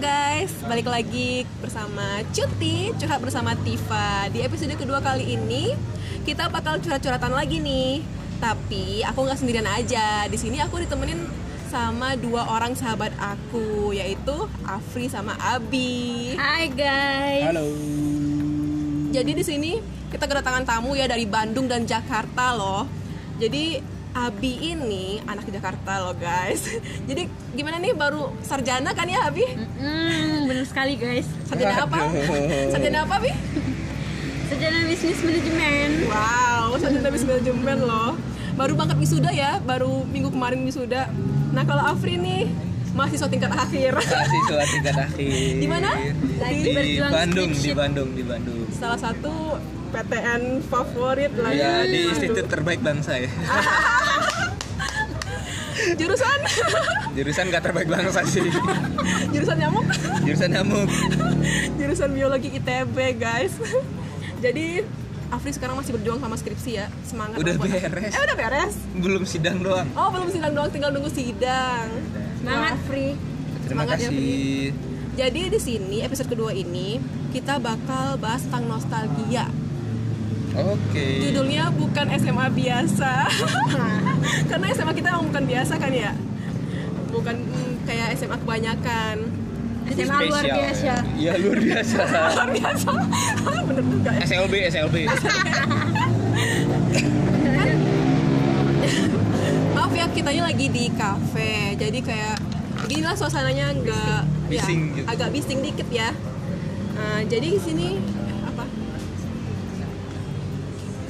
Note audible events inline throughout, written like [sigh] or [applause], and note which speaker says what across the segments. Speaker 1: guys, balik lagi bersama Cuti Curhat bersama Tifa Di episode kedua kali ini Kita bakal curhat-curhatan lagi nih Tapi aku nggak sendirian aja Di sini aku ditemenin sama dua orang sahabat aku Yaitu Afri sama Abi
Speaker 2: Hai guys.
Speaker 3: Halo.
Speaker 1: Jadi di sini kita kedatangan tamu ya dari Bandung dan Jakarta loh. Jadi Abi ini anak Jakarta loh guys. [laughs] Jadi gimana nih baru sarjana kan ya Abi?
Speaker 2: Mm, bener sekali guys.
Speaker 1: Sarjana apa?
Speaker 3: Waduh.
Speaker 1: Sarjana apa Abi?
Speaker 2: Sarjana bisnis manajemen.
Speaker 1: Wow, sarjana bisnis manajemen loh. Baru banget wisuda ya, baru minggu kemarin wisuda. Nah kalau Afri nih mahasiswa tingkat akhir. [laughs]
Speaker 3: Mahasiswa tingkat akhir.
Speaker 1: Di mana?
Speaker 2: Lagi
Speaker 3: Di
Speaker 2: berjuang
Speaker 3: Bandung, di
Speaker 2: skripsi.
Speaker 3: Bandung, di Bandung.
Speaker 1: Salah satu PTN favorit lah ya.
Speaker 3: Ya, di
Speaker 1: Aduh.
Speaker 3: institut terbaik bangsa ya.
Speaker 1: Ah. Jurusan? [laughs]
Speaker 3: Jurusan gak terbaik bangsa sih.
Speaker 1: Jurusan nyamuk?
Speaker 3: Jurusan nyamuk.
Speaker 1: jurusan biologi ITB guys [laughs] jadi Afri sekarang masih berjuang sama skripsi ya semangat
Speaker 3: Udah
Speaker 1: lah buat-
Speaker 3: beres.
Speaker 1: eh udah beres
Speaker 3: Belum sidang doang.
Speaker 1: oh belum sidang doang tinggal nunggu sidang
Speaker 2: Semangat free.
Speaker 3: Terima
Speaker 1: Semangat ya,
Speaker 3: kasih.
Speaker 1: jadi di sini episode kedua ini kita bakal bahas tentang nostalgia
Speaker 3: Oke.
Speaker 1: judulnya bukan SMA biasa [laughs] karena SMA kita emang bukan biasa kan ya bukan mm, kayak SMA kebanyakan [laughs]
Speaker 2: SMA luar
Speaker 3: Spesial,
Speaker 2: biasa.
Speaker 3: Ya, Ya, luar biasa.
Speaker 1: luar biasa [laughs] bener juga ya
Speaker 3: SLB, SLB.
Speaker 1: maaf ya kitanya lagi di kafe jadi kayak ginilah suasananya nggak ya,
Speaker 3: Bising gitu.
Speaker 1: agak bising dikit ya Nah, jadi di sini eh, apa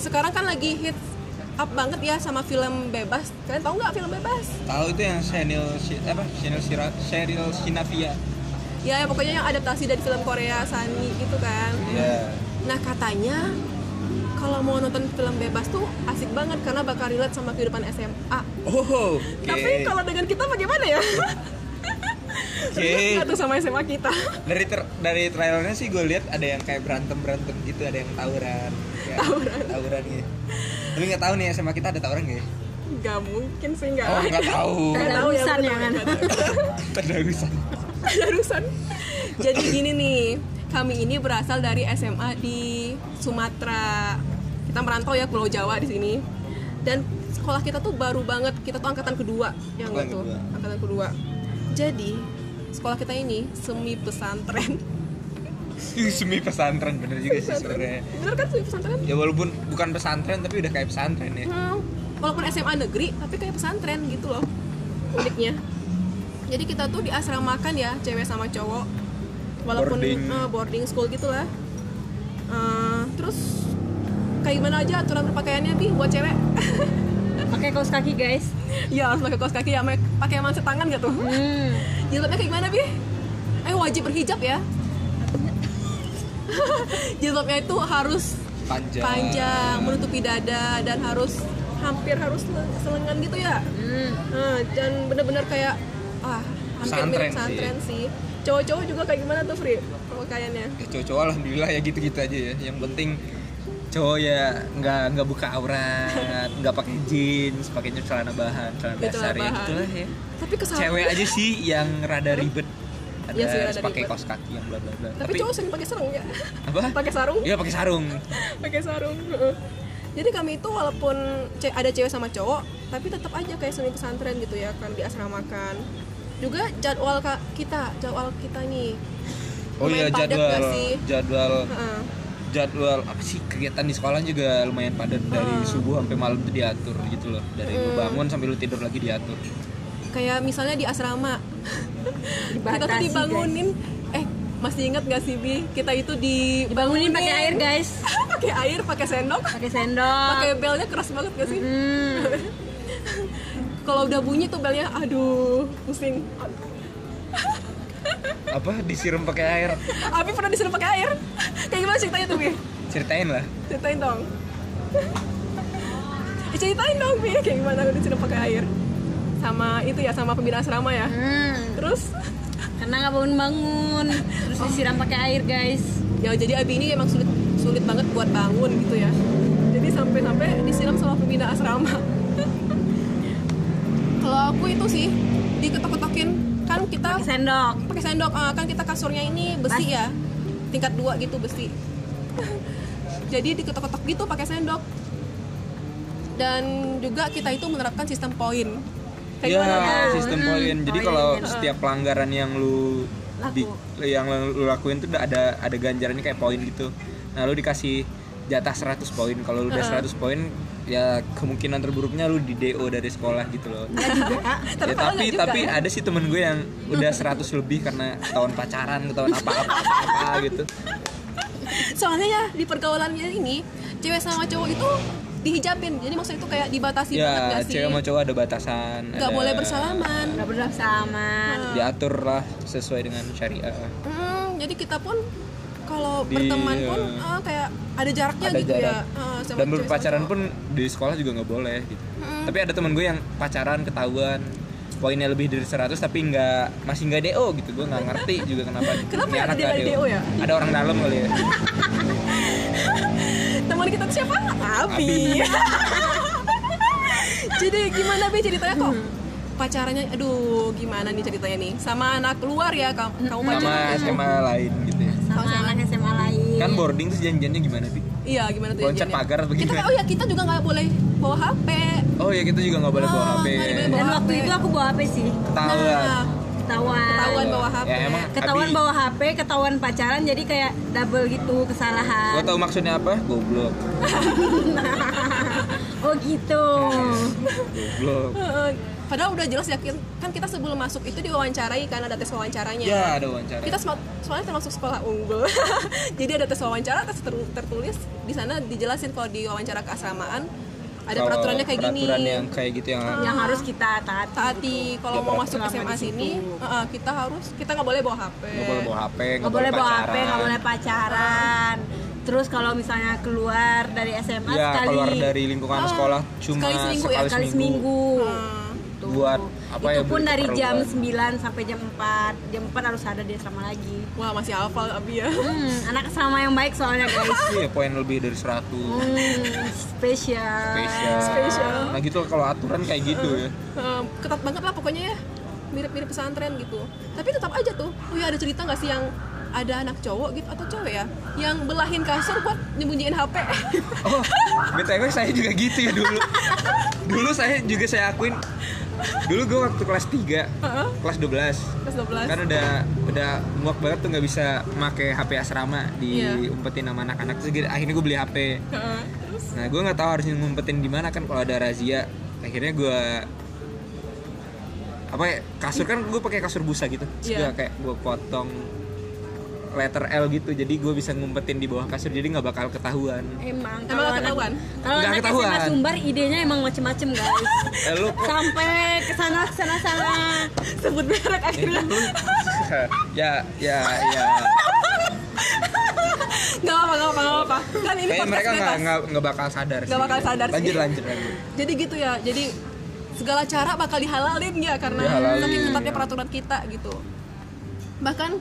Speaker 1: sekarang kan lagi hits up banget ya sama film bebas kalian tahu nggak film bebas
Speaker 3: Tahu itu yang Sheryl Shi- apa? Sheryl Shira- Sheryl Sinavia.
Speaker 1: ya pokoknya yang adaptasi dari film Korea Sunny gitu kan
Speaker 3: Ya.
Speaker 1: nah katanya kalau mau nonton film bebas tuh asik banget karena bakal relate sama kehidupan SMA
Speaker 3: Oh. oke.
Speaker 1: tapi kalau dengan kita bagaimana
Speaker 3: [laughs]
Speaker 1: ya
Speaker 3: Oke.
Speaker 1: Relate nggak tuh sama SMA kita
Speaker 3: dari ter- dari trailernya sih gue lihat ada yang kayak berantem berantem gitu ada yang tawuran ya, tawuran tawuran gitu tapi nggak tahu nih SMA kita ada tawuran nggak ya
Speaker 1: Gak mungkin sih gak
Speaker 3: oh nggak tahu [laughs]
Speaker 1: Nggak
Speaker 2: Ada
Speaker 1: tahu ya,
Speaker 2: urusan
Speaker 1: bener,
Speaker 2: ya kan?
Speaker 1: nggak tahu.
Speaker 3: ada urusan
Speaker 1: [laughs] Ada urusan Jadi gini nih Kami ini berasal dari SMA di Sumatera Kita merantau ya Pulau Jawa di sini Dan sekolah kita tuh baru banget Kita tuh angkatan kedua Yang
Speaker 3: Angkatan
Speaker 1: itu
Speaker 3: kedua.
Speaker 1: Angkatan kedua Jadi sekolah kita ini semi pesantren
Speaker 3: Ih, semi pesantren bener juga sih sebenarnya
Speaker 1: Bener kan semi pesantren?
Speaker 3: ya walaupun bukan pesantren tapi udah kayak pesantren ya
Speaker 1: Hmm, walaupun SMA negeri tapi kayak pesantren gitu loh uniknya jadi kita tuh diasramakan ya cewek sama cowok walaupun
Speaker 3: Boarding.
Speaker 1: eh, boarding school gitulah Eh, terus kayak gimana aja aturan berpakaiannya bi buat cewek
Speaker 2: [laughs]
Speaker 1: [laughs]
Speaker 2: Pakai kaos kaki guys.
Speaker 1: ya harus pakai kaos kaki ya ma- pakai manset tangan gak tuh
Speaker 2: Hmm.
Speaker 1: jilbabnya kayak gimana bi eh wajib berhijab ya [laughs] jilbabnya itu harus
Speaker 3: panjang
Speaker 1: panjang menutupi dada dan harus hampir harus le- selengan gitu ya
Speaker 2: Hmm.
Speaker 1: Nah, dan bener-bener kayak ah hampir
Speaker 3: Pesantren
Speaker 1: mirip pesantren sih. Cowok-cowok juga kayak gimana tuh Fri pakaiannya?
Speaker 3: ya, cowok alhamdulillah ya gitu gitu aja ya yang penting cowok ya nggak nggak buka aurat nggak pakai jeans pakainya celana bahan celana
Speaker 1: Gitu lah,
Speaker 3: dasar ya
Speaker 1: bahan.
Speaker 3: gitulah ya
Speaker 1: Tapi kesal.
Speaker 3: cewek aja sih yang rada ribet ada
Speaker 1: Iya sih, rada
Speaker 3: harus pakai
Speaker 1: ribet.
Speaker 3: kaos kaki yang bla bla bla
Speaker 1: [laughs] Tapi, cowok sering pakai sarung ya. [laughs]
Speaker 3: apa
Speaker 1: pakai sarung,
Speaker 3: iya pakai sarung
Speaker 1: pakai sarung. heeh. Jadi kami itu walaupun ce- ada cewek sama cowok, tapi tetap aja kayak seni pesantren gitu ya kan diasramakan. Juga jadwal ka- kita, jadwal kita nih.
Speaker 3: oh
Speaker 1: Lumayan
Speaker 3: iya
Speaker 1: padat
Speaker 3: jadwal
Speaker 1: nggak sih?
Speaker 3: jadwal
Speaker 1: Heeh.
Speaker 3: jadwal apa sih kegiatan di sekolah juga lumayan padat dari
Speaker 1: Ah.
Speaker 3: subuh sampai malam tuh diatur gitu loh dari
Speaker 1: Hmm.
Speaker 3: lu bangun sampai lu tidur lagi diatur
Speaker 1: kayak misalnya di asrama kita tuh
Speaker 2: Dibatasi,
Speaker 1: dibangunin eh masih ingat gak sih bi kita itu dibangunin
Speaker 2: Dibangunin pakai air guys.
Speaker 1: [laughs] pakai air pakai sendok
Speaker 2: Pakai sendok.
Speaker 1: pakai belnya keras banget gak sih
Speaker 2: Hmm.
Speaker 1: kalau udah bunyi tuh belnya aduh pusing
Speaker 3: apa disiram pakai air
Speaker 1: Abi pernah disuruh pakai air kayak gimana ceritanya tuh bi
Speaker 3: ceritain lah
Speaker 1: ceritain dong Eh, ceritain dong bi kayak gimana udah disuruh pakai air sama itu ya sama pembina asrama ya
Speaker 2: Hmm.
Speaker 1: terus
Speaker 2: Karena nggak bangun bangun. Terus disiram pakai air guys.
Speaker 1: ya jadi Abi ini emang sulit sulit banget buat bangun gitu ya jadi [laughs] sampai-sampai disiram sama pembina asrama kalau aku itu sih diketok-ketokin kan kita
Speaker 2: Pakai sendok
Speaker 1: pakai sendok ah, kan kita kasurnya ini besi ya tingkat dua gitu besi [laughs] jadi diketok-ketok gitu pakai sendok dan juga kita itu menerapkan sistem poin kayak
Speaker 3: Iya,
Speaker 1: gimana tuh?
Speaker 3: sistem
Speaker 2: Mm,
Speaker 3: poin.
Speaker 1: Oh,
Speaker 3: Jadi
Speaker 1: iya,
Speaker 2: poin.
Speaker 3: kalau setiap pelanggaran yang lu di- yang lu lakuin tuh udah ada ada ganjarannya kayak poin gitu. Nah, lu dikasih jatah 100 poin. Kalau lu udah 100 poin, ya kemungkinan terburuknya lu di DO dari sekolah gitu loh. Ya,
Speaker 1: kalau
Speaker 3: tapi
Speaker 1: Iya, nggak juga.
Speaker 3: tapi ada sih temen gue yang udah 100 lebih karena tahun pacaran, tahun apa-apa gitu.
Speaker 1: soalnya ya di pergaulannya ini cewek sama cowok itu dihijabin jadi maksudnya itu kayak dibatasi banget
Speaker 3: Ya,
Speaker 1: gak sih
Speaker 3: cewek sama cowok ada batasan.
Speaker 1: nggak
Speaker 3: ada-
Speaker 1: boleh bersalaman
Speaker 2: nggak bersama
Speaker 3: Diatur lah sesuai dengan syariah.
Speaker 1: Mm, jadi kita pun kalau
Speaker 3: Di-
Speaker 1: berteman pun
Speaker 3: iya.
Speaker 1: ah, kayak ada jaraknya
Speaker 3: ada
Speaker 1: gitu
Speaker 3: jarak.
Speaker 1: ya ah, sama
Speaker 3: dan
Speaker 1: cewek sama
Speaker 3: berpacaran
Speaker 1: cowok. Hmm.
Speaker 3: pun di sekolah juga nggak boleh gitu. Tapi ada temen gue yang pacaran ketahuan poinnya lebih dari 100 tapi nggak masih nggak DO gitu gue nggak ngerti juga kenapa
Speaker 1: [laughs] Kenapa
Speaker 3: Ini
Speaker 1: ya
Speaker 3: anak
Speaker 1: dia
Speaker 3: nggak
Speaker 1: nggak DO ya?
Speaker 3: ada orang dalam kali
Speaker 1: [laughs]
Speaker 3: ya
Speaker 1: teman kita tuh siapa Abi,
Speaker 3: Abi.
Speaker 1: [laughs]
Speaker 3: [laughs]
Speaker 1: jadi gimana bi ceritanya kok pacarannya aduh gimana nih ceritanya nih sama anak luar ya kamu, kamu
Speaker 3: sama
Speaker 1: pacaran
Speaker 3: SMA lain gitu ya.
Speaker 2: sama anak SMA lain
Speaker 3: kan boarding tuh janjiannya gimana sih
Speaker 1: iya gimana tuh
Speaker 3: loncat
Speaker 1: jadinya?
Speaker 3: pagar atau
Speaker 1: kita
Speaker 3: gimana
Speaker 1: oh ya kita juga nggak boleh bawa HP
Speaker 3: oh ya kita juga nggak boleh bawa ya.
Speaker 1: Ah,
Speaker 3: HP
Speaker 1: nggak boleh
Speaker 2: dan
Speaker 1: bawa
Speaker 2: waktu
Speaker 1: HP.
Speaker 2: itu aku bawa HP sih
Speaker 3: ketahuan
Speaker 1: nah
Speaker 2: ketahuan
Speaker 1: ketahuan bawa HP
Speaker 3: ya emang
Speaker 2: ketahuan
Speaker 3: Abi,
Speaker 2: bawa HP ketahuan pacaran jadi kayak double gitu
Speaker 3: gue
Speaker 2: kesalahan
Speaker 3: tahu maksudnya apa
Speaker 1: [laughs]
Speaker 3: goblok
Speaker 2: oh gitu
Speaker 3: goblok
Speaker 1: Heeh. padahal udah jelas ya kan kita sebelum masuk itu diwawancarai kan ada tes wawancaranya
Speaker 3: ya ada wawancara
Speaker 1: kita sema- soalnya termasuk sekolah unggul [laughs] jadi ada tes wawancara tes ter- tertulis di sana dijelasin kalau di wawancara keasramaan ada
Speaker 3: Kalau
Speaker 1: peraturannya kayak gini Ah,
Speaker 3: peraturan yang kayak gitu yang
Speaker 2: yang harus kita taati
Speaker 1: taati kalau
Speaker 3: Ya,
Speaker 1: mau masuk
Speaker 3: peraturan
Speaker 1: SMA sini eh, kita harus kita nggak boleh bawa HP
Speaker 3: nggak boleh bawa HP
Speaker 2: nggak boleh bawa HP nggak boleh pacaran terus kalau misalnya keluar dari SMA
Speaker 3: ya
Speaker 2: sekali
Speaker 3: keluar dari lingkungan
Speaker 1: Ah,
Speaker 3: sekolah cuma
Speaker 1: sekali
Speaker 3: sekali
Speaker 1: seminggu
Speaker 3: seminggu, Hmm.
Speaker 1: ya,
Speaker 2: sekali seminggu
Speaker 1: Eh,
Speaker 2: Tuh.
Speaker 3: buat apa
Speaker 2: itu
Speaker 3: ya,
Speaker 2: pun
Speaker 3: buat
Speaker 2: dari jam
Speaker 3: keperluan.
Speaker 2: 9 sampai jam 4 jam 4 harus ada di asrama lagi
Speaker 1: wah masih hafal abi ya
Speaker 2: hmm, anak asrama yang baik soalnya guys
Speaker 3: iya poin lebih dari 100
Speaker 2: hmm, spesial
Speaker 3: spesial.
Speaker 1: Spesial.
Speaker 3: nah gitu kalau aturan kayak gitu ya
Speaker 1: Eh, ketat banget lah pokoknya ya mirip-mirip pesantren gitu tapi tetap aja tuh oh ya ada cerita nggak sih yang ada anak cowok gitu atau cewek ya yang belahin kasur buat nyembunyiin [laughs] HP
Speaker 3: oh btw saya juga gitu ya dulu dulu saya juga saya akuin dulu gue waktu kelas 3 kelas 12
Speaker 1: kelas 12
Speaker 3: kan udah udah muak banget tuh nggak bisa make HP asrama
Speaker 1: Iya.
Speaker 3: diumpetin sama anak-anak terus gitu, akhirnya gue beli HP
Speaker 1: Heeh. terus
Speaker 3: Nah, gue nggak tahu harus ngumpetin di mana kan kalau ada razia. Akhirnya gue apa ya kasur kan gue pakai kasur busa gitu. Terus
Speaker 1: Iya.
Speaker 3: gua kayak gue potong letter L gitu. Jadi gue bisa ngumpetin di bawah kasur. Jadi nggak bakal ketahuan.
Speaker 1: Emang
Speaker 2: emang
Speaker 1: nggak
Speaker 2: kalau anak-
Speaker 1: ketahuan?
Speaker 2: kalau
Speaker 3: Nggak
Speaker 2: anak
Speaker 3: ketahuan.
Speaker 2: SMA Sumbar idenya emang macem-macem guys
Speaker 3: Eh, lu kok-
Speaker 2: sampai kesana kesana sana
Speaker 1: sebut merek akhirnya
Speaker 3: ya ya ya.
Speaker 1: nggak apa nggak apa nggak apa kan ini
Speaker 3: Kayaknya
Speaker 1: podcast
Speaker 3: mereka nggak
Speaker 1: bebas.
Speaker 3: nggak- nggak bakal sadar.
Speaker 1: Nggak
Speaker 3: sih.
Speaker 1: bakal sadar sih.
Speaker 3: lanjut, Lanjut lanjut
Speaker 1: jadi gitu ya jadi segala cara bakal dihalalin ya karena
Speaker 3: Dihalalin,
Speaker 1: saking ketatnya
Speaker 3: iya.
Speaker 1: peraturan kita gitu bahkan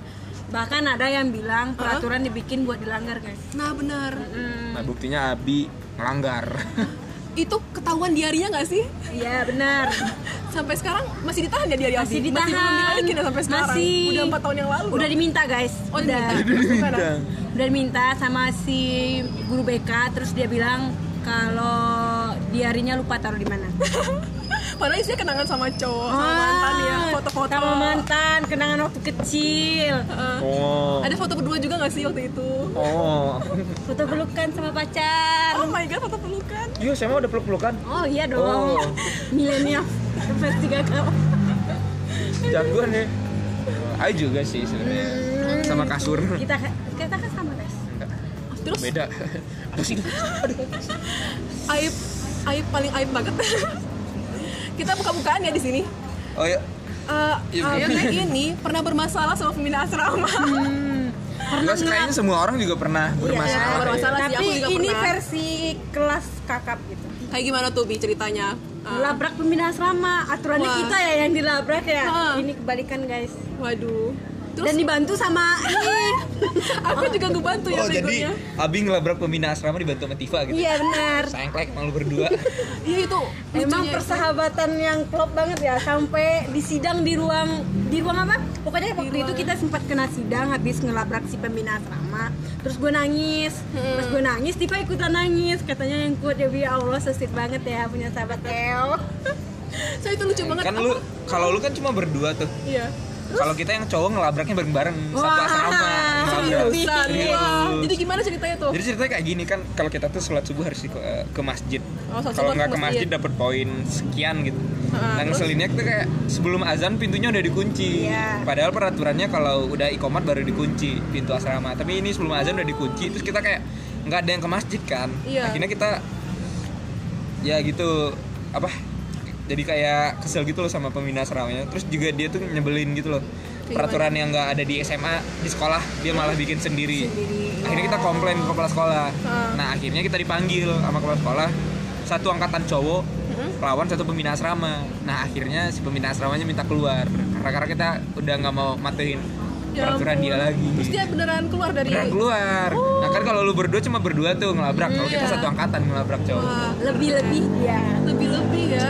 Speaker 2: bahkan ada yang bilang peraturan dibikin buat dilanggar guys
Speaker 1: nah benar
Speaker 2: Hmm,
Speaker 3: Nah buktinya Abi ngelanggar.
Speaker 1: Nah.
Speaker 3: [laughs]
Speaker 1: itu ketahuan diarinya nggak sih
Speaker 2: iya benar
Speaker 1: sampai sekarang masih ditahan ya diari
Speaker 2: Masih
Speaker 1: Abi?
Speaker 2: ditahan.
Speaker 1: masih belum dibalikin ya sampai sekarang
Speaker 2: Masih.
Speaker 1: udah empat tahun yang lalu
Speaker 2: udah
Speaker 1: dong.
Speaker 2: diminta guys
Speaker 1: Oh,
Speaker 2: udah
Speaker 1: diminta.
Speaker 3: Diminta.
Speaker 2: udah diminta sama si guru BK terus dia bilang kalau diarinya lupa taruh di mana Ah,
Speaker 1: padahal isinya kenangan sama cowok [laughs] sama mantan ya foto-foto
Speaker 2: sama mantan kenangan waktu kecil
Speaker 1: Heeh.
Speaker 3: Oh.
Speaker 1: ada foto berdua juga nggak sih waktu itu
Speaker 3: Oh.
Speaker 2: foto pelukan sama pacar
Speaker 1: oh my god foto pelukan
Speaker 3: Yuk, Iya, saya udah peluk-pelukan.
Speaker 2: oh iya
Speaker 3: Oh.
Speaker 2: dong milenial versi kakak
Speaker 3: jagoan ya Ayo juga sih sebenarnya sama kasur
Speaker 2: kita kita kan sama guys
Speaker 1: terus
Speaker 3: beda apa sih
Speaker 1: aib aib paling aib banget [laughs] kita buka-bukaan ya di sini
Speaker 3: oh ya
Speaker 1: Eh,
Speaker 3: Iya,
Speaker 1: Abdi
Speaker 3: bener.
Speaker 1: ini pernah bermasalah sama pembina asrama. [laughs]
Speaker 3: Enggak, kayaknya semua orang juga pernah
Speaker 2: Iya,
Speaker 3: bermasalah ya.
Speaker 1: pernah Iya, bermasalah. sih,
Speaker 2: tapi
Speaker 1: aku juga
Speaker 2: ini
Speaker 1: pernah.
Speaker 2: versi kelas kakap gitu
Speaker 1: Kayak gimana tuh bi ceritanya? Eh,
Speaker 2: labrak pembina asrama aturannya
Speaker 1: Wah. Ah.
Speaker 2: kita ya yang dilabrak ya
Speaker 1: Heeh.
Speaker 2: ini kebalikan guys
Speaker 1: waduh, itu
Speaker 2: dan dibantu sama
Speaker 1: [laughs] aku juga gue bantu ya
Speaker 3: Oh jadi
Speaker 1: begonya.
Speaker 3: Abi ngelabrak pembina asrama dibantu sama Tifa gitu.
Speaker 2: iya benar
Speaker 3: Sayang klek emang lu berdua.
Speaker 1: Iya itu
Speaker 2: Emang
Speaker 1: lucunya.
Speaker 2: persahabatan yang klop banget ya sampai di sidang di ruang di ruang apa? Pokoknya waktu itu kita sempat kena sidang habis ngelabrak si pembina asrama. Terus gue nangis,
Speaker 1: Hmm.
Speaker 2: terus gue nangis, tiba ikutan nangis. Katanya yang kuat ya Bi. ya Allah sesit banget ya punya sahabat Teo.
Speaker 1: so itu lucu banget
Speaker 3: kan lu kalau lu kan cuma berdua tuh.
Speaker 1: iya
Speaker 3: Kalau kita yang cowok ngelabraknya bareng-bareng satu
Speaker 2: Wah,
Speaker 3: asrama. ngelabrak.
Speaker 2: serius.
Speaker 1: Seriusan,
Speaker 3: Serius.
Speaker 1: wah. jadi gimana ceritanya tuh
Speaker 3: Iya. Jadi ceritanya kayak gini kan kalau kita tuh sholat subuh harus ke, ke masjid.
Speaker 1: Oh, sholat
Speaker 3: kalau
Speaker 1: subuh
Speaker 3: nggak
Speaker 1: ke
Speaker 3: ke masjid
Speaker 1: masjid.
Speaker 3: dapat poin sekian gitu.
Speaker 1: Heeh,
Speaker 3: nah
Speaker 1: terus?
Speaker 3: ngeselinnya tuh kayak sebelum azan pintunya udah dikunci.
Speaker 2: Iya.
Speaker 3: Padahal peraturannya kalau udah ikomat baru dikunci pintu asrama. Tapi ini sebelum azan udah dikunci. Terus kita kayak nggak ada yang ke masjid kan.
Speaker 1: Iya.
Speaker 3: Akhirnya kita ya gitu apa? Jadi kayak kesel gitu loh sama pembina asramanya. Terus juga dia tuh nyebelin gitu loh. Peraturan yang nggak ada di SMA di sekolah dia malah bikin sendiri.
Speaker 1: iya.
Speaker 3: Akhirnya kita komplain ke kepala sekolah. Nah akhirnya kita dipanggil sama kepala sekolah satu angkatan cowok lawan satu pembina asrama. Nah akhirnya si pembina asramanya minta keluar karena karena kita udah nggak mau materin
Speaker 1: Ya
Speaker 3: peraturan dia lagi.
Speaker 1: terus dia beneran keluar dari
Speaker 3: Beneran keluar. Nah kan kalau lu berdua cuma berdua tuh ngelabrak. Kalau kita
Speaker 1: Iya.
Speaker 3: satu angkatan ngelabrak cowok.
Speaker 1: Wah,
Speaker 2: Lebih-lebih iya. dia.
Speaker 1: lebih-lebih ya